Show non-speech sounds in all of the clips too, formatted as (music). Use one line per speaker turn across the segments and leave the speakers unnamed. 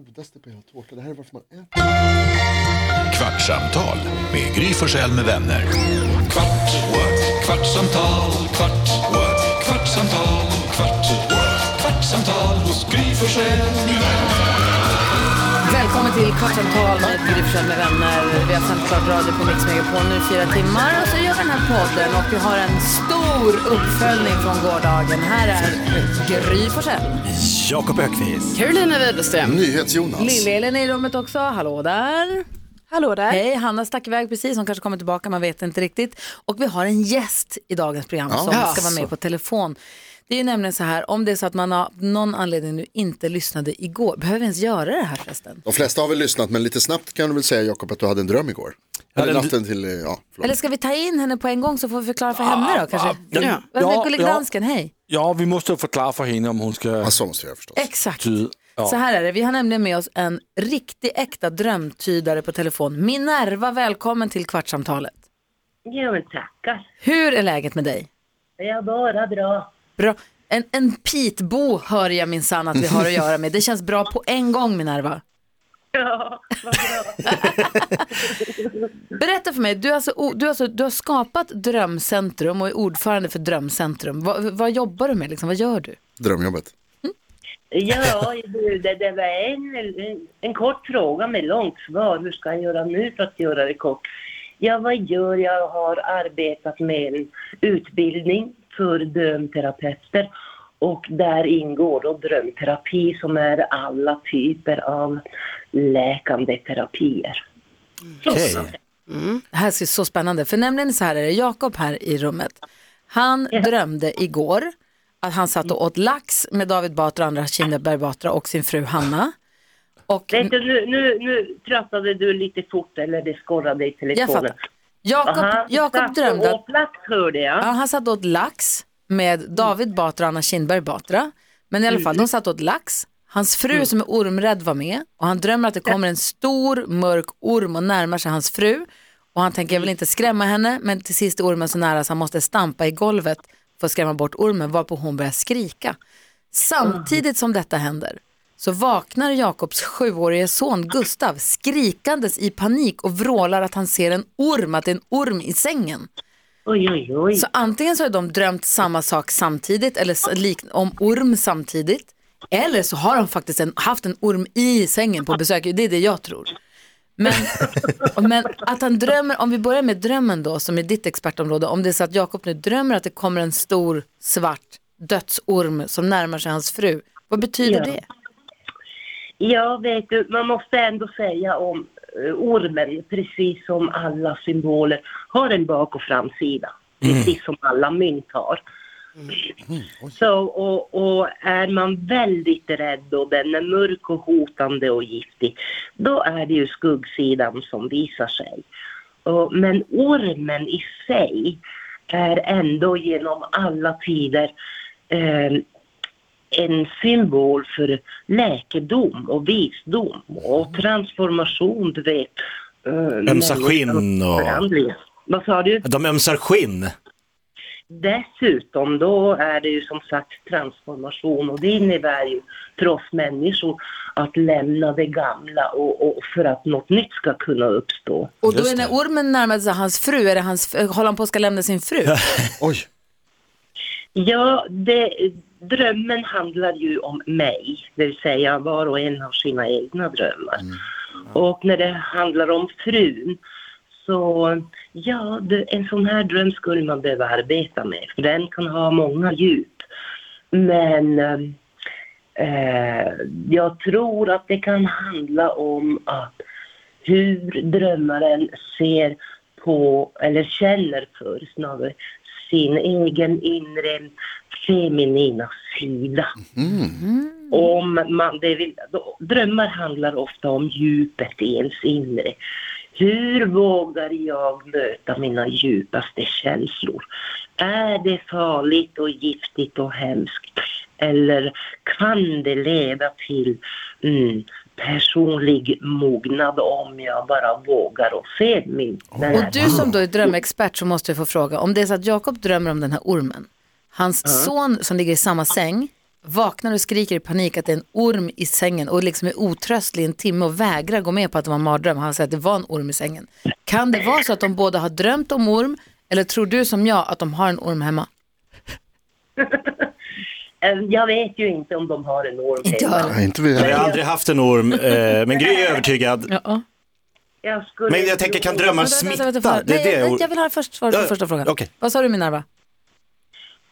godaste på hela tårtan. Det här är varför man äter.
Kvartsamtal med Gry Forssell med vänner. Kvart, what? kvartsamtal, kvart, what? kvartsamtal, kvart, what? kvartsamtal hos Gry Forssell med vänner.
Välkommen till Kvartsamtal med Gry Forssell med vänner. Vi har sänt klart radio på Mix Megapol nu i fyra timmar och så gör vi den här podden och vi har en stor uppföljning från gårdagen. Här är Gry Forssell.
Jakob Ökvist.
Carolina Widerström.
NyhetsJonas.
Lill-Elin är i rummet också. Hallå där.
Hallå där.
Hej, Hanna stack iväg precis. Hon kanske kommer tillbaka, man vet inte riktigt. Och vi har en gäst i dagens program som ska vara med på telefon. Det är ju nämligen så här, om det är så att man av någon anledning nu inte lyssnade igår, behöver vi ens göra det här förresten?
De flesta har väl lyssnat, men lite snabbt kan du väl säga Jakob att du hade en dröm igår.
hade
Eller
en-
natten till, eh, ja, förlåt.
Eller ska vi ta in henne på en gång så får vi förklara för henne då kanske?
Ja.
Ja,
Ja,
Gullig
ja.
dansken, hej.
Ja, vi måste förklara för henne om hon ska...
Ja, så måste jag göra förstås.
Exakt.
Ty- ja.
Så här är det, vi har nämligen med oss en riktig äkta drömtydare på telefon. Minerva, välkommen till Kvartsamtalet.
Ja men tackar.
Hur är läget med dig?
Det är bara bra.
Bra. En, en pitbo hör jag minsann att vi har att göra med. Det känns bra på en gång Minerva.
Ja, vad bra.
(laughs) Berätta för mig, du, är alltså, o- du, är alltså, du har skapat Drömcentrum och är ordförande för Drömcentrum. Vad- vad jobbar du med? Liksom? Vad gör du?
Drömjobbet.
(laughs)
Ja, du, det, det var en, en- en kort fråga med långt svar. Hur ska jag göra nu för att göra det kort? Ja, vad gör jag? Jag har arbetat med en utbildning för drömterapeuter och där ingår då drömterapi som är alla typer av läkande terapier.
Okej.
Det här ser så spännande för nämligen så här är det, Jakob här i rummet. Han drömde igår att han satt och åt
Mm.
lax med David Batra och andra Kinneberg Batra och sin fru Hanna. Och
Vet du, nu, nu, nu pratade du lite fort eller det skorrade i
jag
telefonen.
fattar. Jakob,
Aha,
Jakob
satt
drömde att
på plats hörde jag.
ja, han satt och åt lax med David Batra och Anna Kinberg Batra. Men i alla fall, de satt och åt lax. Hans fru som är ormrädd var med och han drömmer att det kommer en stor mörk orm och närmar sig hans fru. Och han tänker, jag vill inte skrämma henne, men till sist är ormen så nära så han måste stampa i golvet för att skrämma bort ormen, varpå hon börjar skrika. Samtidigt som detta händer så vaknar Jakobs sjuårige son Gustav skrikandes i panik och vrålar att han ser en orm, att det är en orm i sängen.
Oj, oj, oj.
Så antingen så har de drömt samma sak samtidigt eller s- lik- om orm samtidigt. Eller så har de faktiskt en, haft en orm i sängen på besök. Det är det jag tror. Men, men att han drömmer, om vi börjar med drömmen då, som är ditt expertområde. Om det är så att Jakob nu drömmer att det kommer en stor svart dödsorm som närmar sig hans fru. Vad betyder
Ja.
det?
Ja, vet du, man måste ändå säga om eh, ormen, precis som alla symboler, har en bak och framsida.
Mm.
Precis som alla mynt har. Så, och, och är man väldigt rädd och den är mörk och hotande och giftig, då är det ju skuggsidan som visar sig. Och, men ormen i sig är ändå genom alla tider eh, en symbol för läkedom och visdom och transformation, du vet. eh,
Ömsa skinn
människans
och-
förändringar. Vad sa du?
De ömsar skinn.
Dessutom då är det ju som sagt transformation och det innebär ju för oss människor att lämna det gamla och, och för att något nytt ska kunna uppstå.
Och då
Just
är när
det.
ormen närmar sig hans fru, är det hans, håller han på att ska lämna sin fru?
Oj,
Ja, det, drömmen handlar ju om mig, det vill säga var och en har sina egna drömmar. Och när det handlar om frun så, ja, det, en sån här dröm skulle man behöva arbeta med, för den kan ha många djup. Men eh, eh, jag tror att det kan handla om att hur drömmaren ser på, eller känner för snarare, sin egen inre feminina sida. Om man, det vill, då, drömmar handlar ofta om djupet i ens inre. Hur vågar jag möta mina djupaste känslor? Är det farligt och giftigt och hemskt? Eller kan det leda till mm, personlig mognad om jag bara vågar och ser min... den
Och
här-
du som då är drömexpert så måste jag få fråga, om det är så att Jakob drömmer om den här ormen, hans son som ligger i samma säng vaknar och skriker i panik att det är en orm i sängen och liksom är otröstlig i en timme och vägrar gå med på att det var en mardröm. Han säger att det var en orm i sängen. Kan det vara så att de båda har drömt om orm eller tror du som jag att de har en orm hemma?
Eh, Jag vet ju inte om de har en orm
Inte
hemma.
jag.
Nej, inte vi
Jag har
heller.
aldrig haft en orm, eh,
(laughs)
men Gry är övertygad.
Ja.
Jag skulle
Men jag tänker, kan
tro-
drömmar
Vänta, vänta,
smitta?
vänta, vänta.
Det är
Nej,
det
Jag vill ha först svar på
Ja,
första frågan.
okej.
Vad sa du Minerva?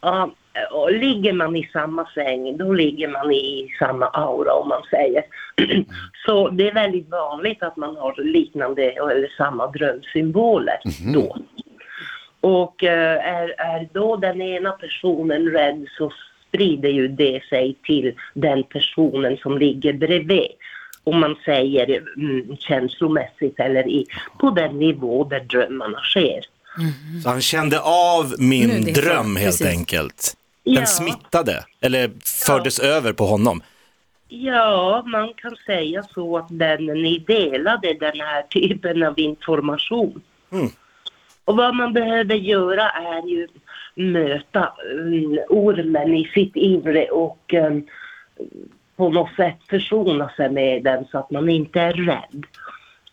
Ja, och ligger man i samma säng, då ligger man i samma aura om man säger. (clears throat) Så det är väldigt vanligt att man har liknande eller samma drömsymboler då. Och eh, är, är då den ena personen rädd så sprider ju det sig till den personen som ligger bredvid. Om man säger mm, känslomässigt eller i, på den nivå där drömmarna sker.
Så han kände av
Nu är
min
din
dröm
fråga.
helt
Precis.
enkelt. Den
Ja.
smittade, eller fördes över på honom.
Ja, man kan säga så att den, ni delade den här typen av information. Och vad man behöver göra är ju möta mm, ormen i sitt inre och mm, på något sätt försona sig med den så att man inte är rädd.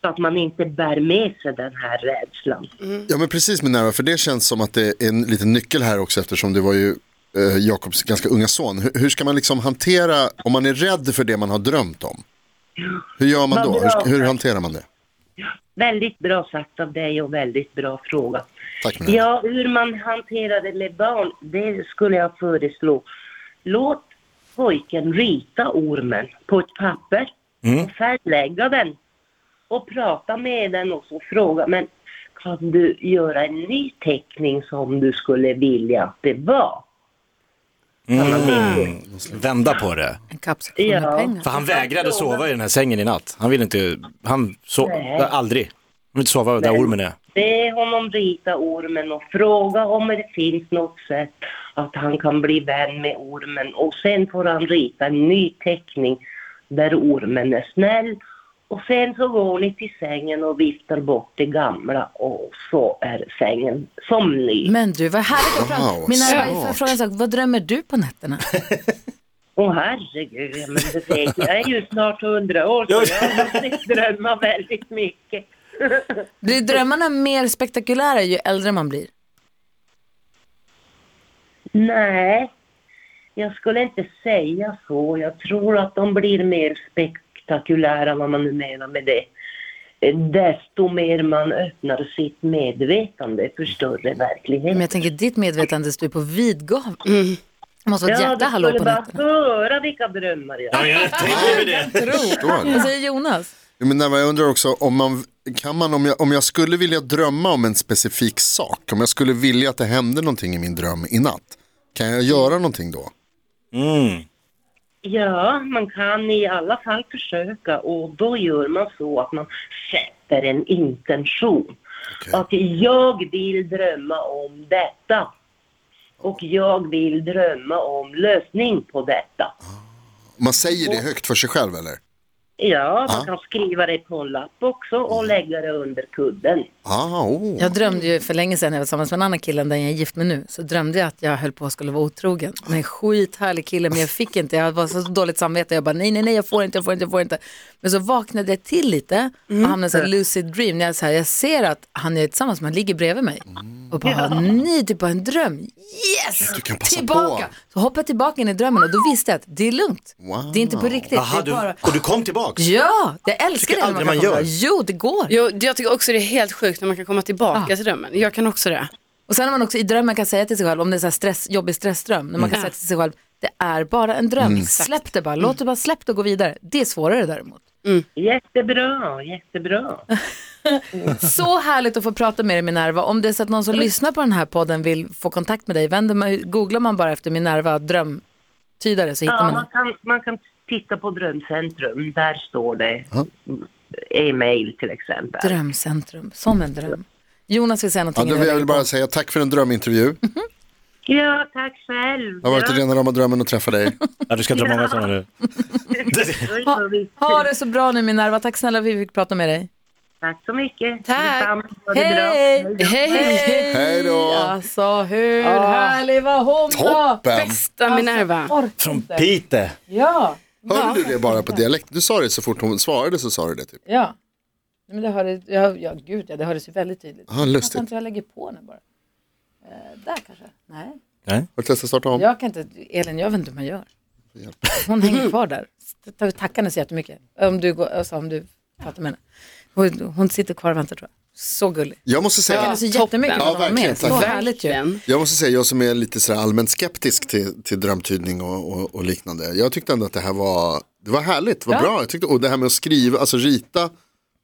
Så att man inte bär med sig den här rädslan.
Ja men precis med nerver, för det känns som att det är en liten nyckel här också eftersom det var ju eh, Jakobs ganska unga son. Hur, hur ska man liksom hantera, om man är rädd för det man har drömt om, hur gör man då? Hur, hur hanterar man det?
Väldigt bra sagt av dig och väldigt bra fråga.
Tack Minerva.
Ja, hur man hanterar det med barn, det skulle jag föreslå. Låt pojken rita ormen på ett papper och färglägga den och prata med den och så fråga, men kan du göra en ny teckning som du skulle vilja att det var?
Mm. Vända på det.
En kapsel
Ja.
med pengar.
För han vägrade sova i den här sängen i natt. Han ville inte, han sov,
Nej.
aldrig. Han vill inte sova där ormen är.
Be honom rita ormen och fråga om det finns något sätt att han kan bli vän med ormen och sen får han rita en ny teckning där ormen är snäll och sen så går ni till sängen och viftar bort det gamla och så är sängen som ny.
Men du, vad härligt att prata.
Wow,
Minerva,
smart.
får jag fråga en sak? Vad drömmer du på nätterna?
Åh herregud, ja, men det vet jag. jag är ju snart hundra år så jag har hunnit drömma väldigt mycket.
Blir drömmarna mer spektakulära ju äldre man blir?
Nej, jag skulle inte säga så. Jag tror att de blir mer spektakulära, vad man nu menar med det. Eh, Desto mer man öppnar sitt medvetande för större
Men
verklighet.
jag tänker ditt medvetande står ju på vidgav. Mm. Det måste vara ett
Ja,
jävla
du
hallå
skulle
på
bara
nätterna.
höra vilka drömmar jag har.
Förstår.
Vad säger Jonas?
Jo, Men Nerva, jag undrar också, om man, kan man, om, jag, om jag skulle vilja drömma om en specifik sak, om jag skulle vilja att det hände någonting i min dröm i natt, kan jag göra någonting då?
Mm.
Ja, man kan i alla fall försöka och då gör man så att man sätter en intention.
Okej.
Att jag vill drömma om detta. Och jag vill drömma om lösning på detta.
Man säger det högt för sig själv eller?
Ja, man
Ja.
kan skriva det på en lapp också och lägga det under kudden.
Ah, oh.
Jag drömde ju för länge sedan, när jag var tillsammans med en annan kille än den jag är gift med nu, så drömde jag att jag höll på att skulle vara otrogen. Men en skithärlig kille, men jag fick inte, jag var så dåligt samvete, jag bara nej, nej, nej, jag får inte, jag får inte, jag får inte. Men så vaknade jag till lite
Mm.
och hamnade i en lucid dream, när jag, så här, jag ser att han är tillsammans, men han ligger bredvid mig. Och bara, nej, det är bara en dröm. Yes!
Mm. Du kan passa
tillbaka!
på.
Så hoppade jag tillbaka in i drömmen och då visste jag att det är lugnt.
Wow.
Det är inte på riktigt,
Aha,
det
du,
är bara...
och du kom tillbaks?
Ja, jag älskar det. när
aldrig
kan
man gör.
komma- Jo, det går.
Jo, jag tycker också det är helt sjukt när man kan komma tillbaka till drömmen. Jag kan också det.
Och sen när man också i drömmen kan säga till sig själv, om det är så här stress, jobbig stressdröm, när
Mm.
man kan säga till sig själv, det är bara en dröm, släpp det bara, låt det bara, släpp det och gå vidare. Det är svårare däremot.
Jättebra, jättebra.
Mm.
Så härligt att få prata med dig Minerva. Om det är så att någon som lyssnar på den här podden vill få kontakt med dig, vänder man, googlar man bara efter Minerva drömtydare så hittar
Ja,
man
man
den.
kan, man kan titta på Drömcentrum. Där står det e-mail till exempel.
Drömcentrum, som en dröm. Jonas vill säga
Ja,
någonting.
då
innan
vill jag
vi
vill
lägger
bara säga tack för en drömintervju.
Ja, tack själv.
Det har varit
Ja,
rena rama drömmen att träffa
(laughs)
dig.
Ja, du ska drömma om (laughs) sådana nu.
det var ju
på.
så viktigt.
Ha, ha det så bra nu Minerva, tack snälla för att vi fick prata med dig.
Tack så mycket.
Tack.
Detsamma. Ha det bra.
Hej!
Hej!
Hej då.
Alltså hur härlig var hon då?
Toppen!
Bästa Minerva.
Alltså, Orkar
Från
inte.
Pite.
Ja,
Hörde du det bara på dialekt? Du sa det så fort hon svarade så sa du det typ.
ja. Nej, Men det hördes, ja, ja gud ja, det hördes ju väldigt tydligt.
Ja,
Jag kan
lustigt.
inte jag lägger på nu bara. Eh, där kanske? Nej.
Nej.
Har du testat starta om?
Jag kan inte, Elin jag vet inte hur man gör. Hon hänger kvar där. Ta- Tacka henne så jättemycket. Om du, går, alltså, om du fattar med henne. Hon, hon sitter kvar och väntar tror jag. Så gullig.
Jag måste säga,
Jag känner så
Ah,
jättemycket
Ja,
för att hon var
verkligen,
med. Så
tack.
härligt ju.
Den.
Jag måste säga, jag som är lite sådär allmänt skeptisk till, till drömtydning och, och, och liknande. Jag tyckte ändå att det här var, det var härligt, det var bra. Jag tyckte, och det här med att skriva, alltså rita,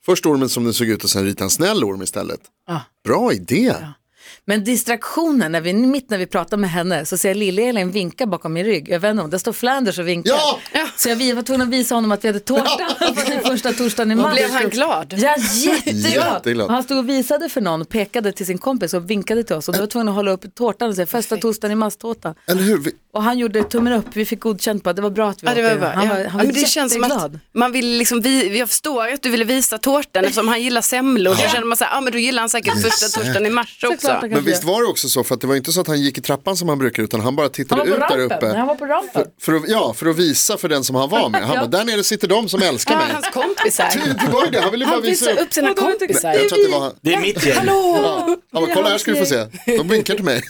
först ormen som den såg ut och sen rita en snäll orm istället. Bra idé.
Men distraktionen, när vi, mitt när vi pratar med henne så ser jag Lill-Elin vinka bakom min rygg. Jag vet inte om det står Flanders och vinkar.
Ja!
Så jag vi var tvungen att visa honom att vi hade tårta (laughs) för första torsdagen i mars.
Blev han glad?
Ja, jätteglad.
Jätteglad.
Han stod och visade för någon, pekade till sin kompis och vinkade till oss. Och då var tvungen att hålla upp tårtan och säga första torsdagen i masstårta.
Eller hur? Vi-
Och han gjorde tummen upp, vi fick godkänt på att det var bra att vi
Ja, det
åt
var bra.
Han
ja.
var,
ja,
han var
men det känns som att
jätteglad.
man vill liksom, vi, jag förstår att du ville visa tårtan eftersom han gillar semlor. Då känner man så här, ah, men då gillar han säkert första torsdagen i mars också.
Såklart han
Men
kanske-
visst var det också så, för att det var inte så att han gick i trappan som han brukar, utan han bara
han
tittade
var på
ut där
rampen.
uppe.
Nej, Han var på rampen.
För att, ja, för att visa för den som han var med. Han
(laughs) Ja.
bara, där nere sitter de som älskar mig.
Hans kompisar.
Det var ju det, han ville bara
Han
visa
visar
upp.
upp sina kompisar.
Jag tror att det var han.
Det är mitt gäng.
Ja, han bara, kolla här ska du få se. De blinkar till mig.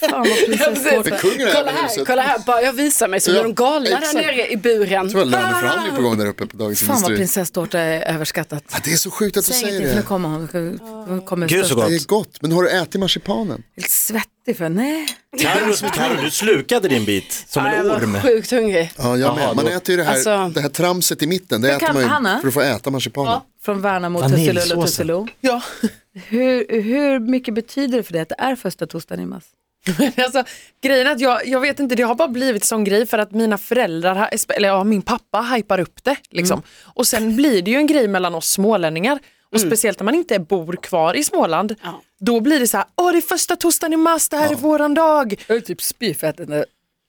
Fan, vad prinsesstårta.
Det är kungen här
Kolla
med
här,
huset.
kolla här, bara jag visar mig så blir
Ja,
de galna
exakt.
där nere i buren.
Det var löneförhandling på gång där uppe på Dagens
Fan vad
Industri.
prinsesstårta är överskattat.
Ja, det är så sjukt att du
Säg
säger
ingenting, för nu
det.
kommer hon. hon kommer
Gud så
stå-
gott.
Det är gott, men har du ätit marsipanen?
Helt svettig för nej.
Carro, Carro, du slukade din bit som
Ja, jag
en orm.
var Ah, sjukt hungrig.
Ja, jag
Jaha,
med. Man
då-
äter ju det här,
Alltså-
det här tramset i mitten, det äter
kan-
man ju
Hanna?
för att få äta marsipanen.
Från Värnamo,
Vaniljsåsen.
Tussilull och Tussilo.
(laughs)
Ja.
Hur, hur mycket betyder det för dig att det är första torsdagen i mars?
Alltså, grejen är att jag, jag vet inte, det har bara blivit sån grej för att mina föräldrar, ha- eller ja, min pappa hypar upp det. Liksom. Och sen blir det ju en grej mellan oss smålänningar. Och speciellt när man inte bor kvar i Småland.
Ja.
Då blir det så här, åh det är första torsdagen i mars, det här är våran dag.
Jag är typ spyfettig nu.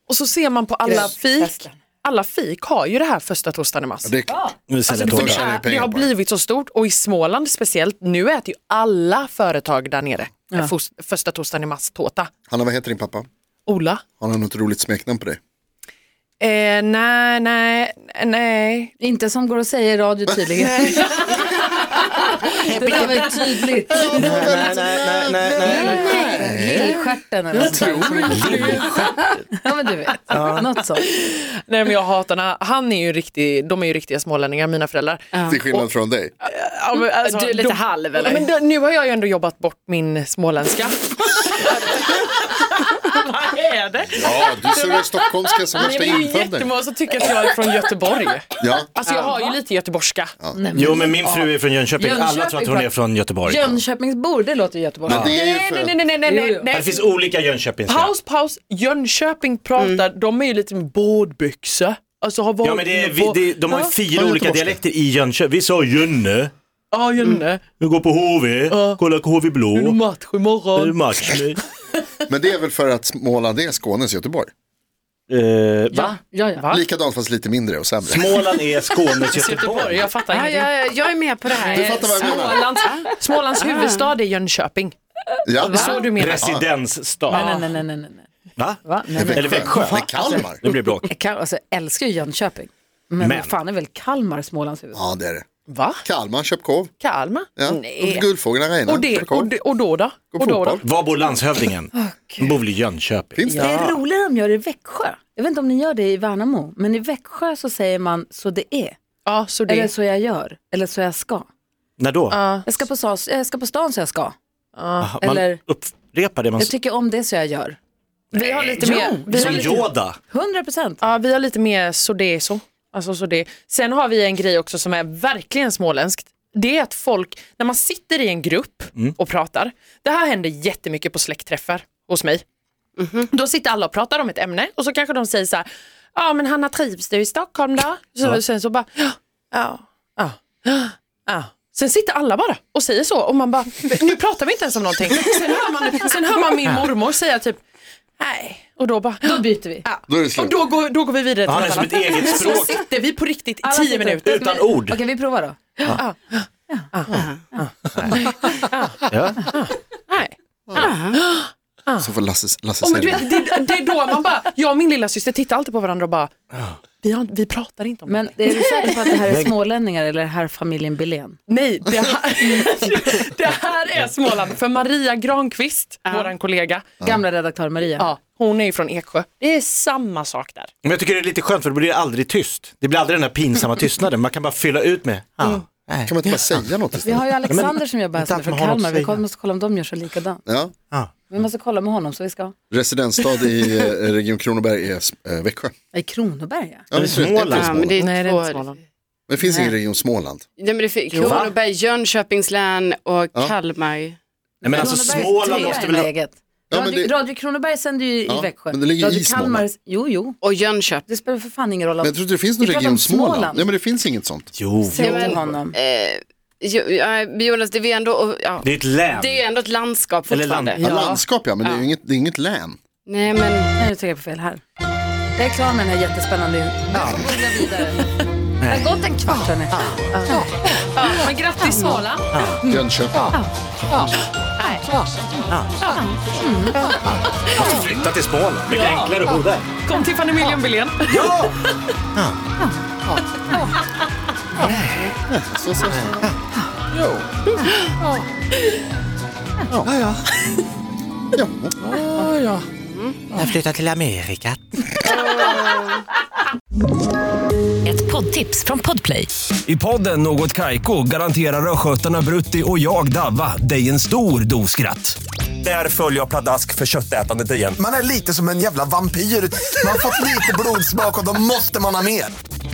Och så ser man på alla fik,
festen.
alla fik har ju det här första torsdagen i mars.
Det är klart.
Nu
Alltså,
säljer
det
jag
var
tårta.
så- tjänar ju
Det,
pengar
har
på det.
blivit så stort och i Småland speciellt, nu äter ju alla företag där nere
Ja.
fos- första torsdagen i mars tårta.
Hanna, vad heter din pappa?
Ola?
Har han något roligt smeknamn på dig?
Eh, nej, nej, nej.
Inte som går att säga i radio tydligen. (laughs) det där var ju tydligt.
Nej, nej, nej, nej.
Lillstjärten eller något sånt. Ja men du vet, något sånt.
Nej men jag hatar honom. Han är ju riktig, de är ju riktiga smålänningar mina föräldrar.
Till skillnad från dig.
Ja, men alltså,
Du är lite halv
Ja,
eller?
men då, nu har jag ju ändå jobbat bort min småländska. Vad är det?
Ja, du ser det stockholmska som
Nej,
värsta
men det är ju
infödning.
jättemånga som tycker att jag är från Göteborg.
Ja,
Alltså jag har ju lite göteborgska.
Jo, men min fru är från Jönköping. Alla tror att hon
Jönköping,
är från Göteborg.
Jönköpingsbor, det låter ju Göteborg.
men det är ju
Nej, nej,
för...
nej, nej, nej,
Jo,
nej,
jo.
nej.
Det finns olika Jönköpingska.
Paus, paus. Jönköping pratar, de är ju lite med badbyxor. Alltså har varit
Ja, men det är, vi, det, de har ju fyra
Ja,
olika
göteborgska.
dialekter i Jönköping. Vi sa Jönne,
Ja, Jönne.
vi går på HV, kolla på HV Blå.
Det är match
Det är
imorgon.
match nu.
Men det är väl för att Småland är Skånes Göteborg.
Eh,
Ja,
va?
ja, ja.
Va?
Likadant fast lite mindre och sämre.
Småland är Skånes
Göteborg,
Göteborg.
jag fattar
Ja,
ingenting.
jag, jag är med på det här.
Du fattar vad jag menar?
Smålands, Ah. Smålands huvudstad är Jönköping.
Ja.
Så du menar?
Residensstad.
Nej, nej, nej, nej, nej, nej.
Va?
Va? Nej, men,
Eller Växjö.
Nej, Kalmar.
Nu blir det bråk.
jag kan, alltså, jag älskar ju Jönköping. Men,
Men.
vad fan är väl Kalmar Smålands huvud?
Ja, det är det.
Va?
Kalmar, Köpkov.
Kalmar?
Ja.
Nej.
Guldfågeln Arena.
Och, det,
Köpkov.
och, det, och då då?
Gå
Och då då?
fotboll.
Var bor landshövdingen? Hon bor väl i Jönköping?
Finns det?
Det är roligare om jag gör det i Växjö. Jag vet inte om ni gör det i Värnamo, men i Växjö så säger man så det är.
Ja, så
Eller
det.
så jag gör, eller så jag ska.
När då?
Ja.
Jag ska på, sa- jag ska på stan så jag ska.
Aha, man
eller-
upprepar det man
Jag tycker om det så jag gör.
Vi har lite
Jo,
mer... Vi har
Som
lite,
Yoda.
100 procent.
ja, vi har lite mer så det är så. Alltså så det. Sen har vi en grej också som är verkligen småländskt. Det är att folk, när man sitter i en grupp och pratar, det här händer jättemycket på släktträffar hos mig. Då sitter alla och pratar om ett ämne och så kanske de säger så här, ja men Hanna trivs du i Stockholm då? Så,
Ja.
Sen så bara, ja, ja, ja, ja. Sen sitter alla bara och säger så och man bara, nu pratar vi inte ens om någonting. Sen hör man, sen hör man min mormor säga typ, nej, och då bara,
Då byter vi.
ja.
Då är det slut.
och då går, då går vi vidare till
Han är
något
som
(laughs) annat.
ett eget
Så
språk.
sitter vi på riktigt i
Alla
tio
sitter.
minuter.
Utan ord.
Okej, vi provar då.
Ja.
Ja.
Nej.
Så får Lasse, Lasse
Och men du
säga det.
vet, det, det är då man bara, jag och min lilla syster tittar alltid på varandra och bara, vi, har, vi pratar inte om
Men
det.
är du säker på att det här är smålänningar eller är det här familjen Billén?
Nej, det här, (laughs) det här är Småland. För Maria Granqvist, våran kollega,
Gamla redaktör Maria.
ja, hon är ju från Eksjö. Det är samma sak där.
Men jag tycker det är lite skönt för det blir aldrig tyst. Det blir aldrig den här pinsamma tystnaden. Man kan bara fylla ut med. Ah, nej.
Kan man inte bara säga något
Vi
istället?
har ju Alexander som jobbar här
Inte
som är från
att man har något
Kalmar.
att
Vi
säga.
koll- måste kolla om de gör så likadant.
Ja.
Ah.
Vi måste kolla med honom så vi ska.
Residensstad i eh, Region Kronoberg är eh, Växjö.
I
alltså
Kronoberg ja.
Ja,
Men
visst är det- är inte
Småland.
det
Ja, men det är
Nej, det är inte
två-
Småland.
Men det finns ingen
Nej.
Region Småland.
Ja, men det fin- Kronoberg, Jönköpings län och Kalmar.
Nej, men alltså
Kronoberg-
Småland
Kronoberg
måste
är
väl... ha-
läget.
Ja, men
Radio,
det-
Radio Kronoberg sänder ju
Ja,
i Växjö.
men det ligger
Radio
i Småland.
Jo, jo.
Och Jönköping.
Det spelar för fan ingen roll.
Men jag tror inte det finns någon
Vi pratar om
Region Småland.
Småland.
Nej, men det finns inget sånt.
Jo,
Säg
Nej, men-
till honom.
Eh, jo, ja, Jonas, det är ju ändå, och- ja,
det är ett län.
det är ändå ett landskap
Eller
fortfarande.
land-
Ja. landskap ja, men det är ju inget, det är inget län.
Nej, men
Nej, nu tycker jag på fel här. Jag är klar med den här jättespännande. Ja. Nu går jag vidare. Det har gått en kvart hörni.
Men grattis Småland.
Jönköping.
Flytta till Småland. Mycket enklare att bo där.
Kom till familjen Billén.
Så, så, så. Jo. Ja. Ja. Ja.
Jag flyttar till Amerika.
Ett poddtips från Podplay.
I podden Något Kaiko garanterar östgötarna Brutti och jag, Davva, dig en stor dos skratt. Där följer jag pladask för köttätandet igen.
Man är lite som en jävla vampyr. Man har fått lite blodsmak och då måste man ha mer.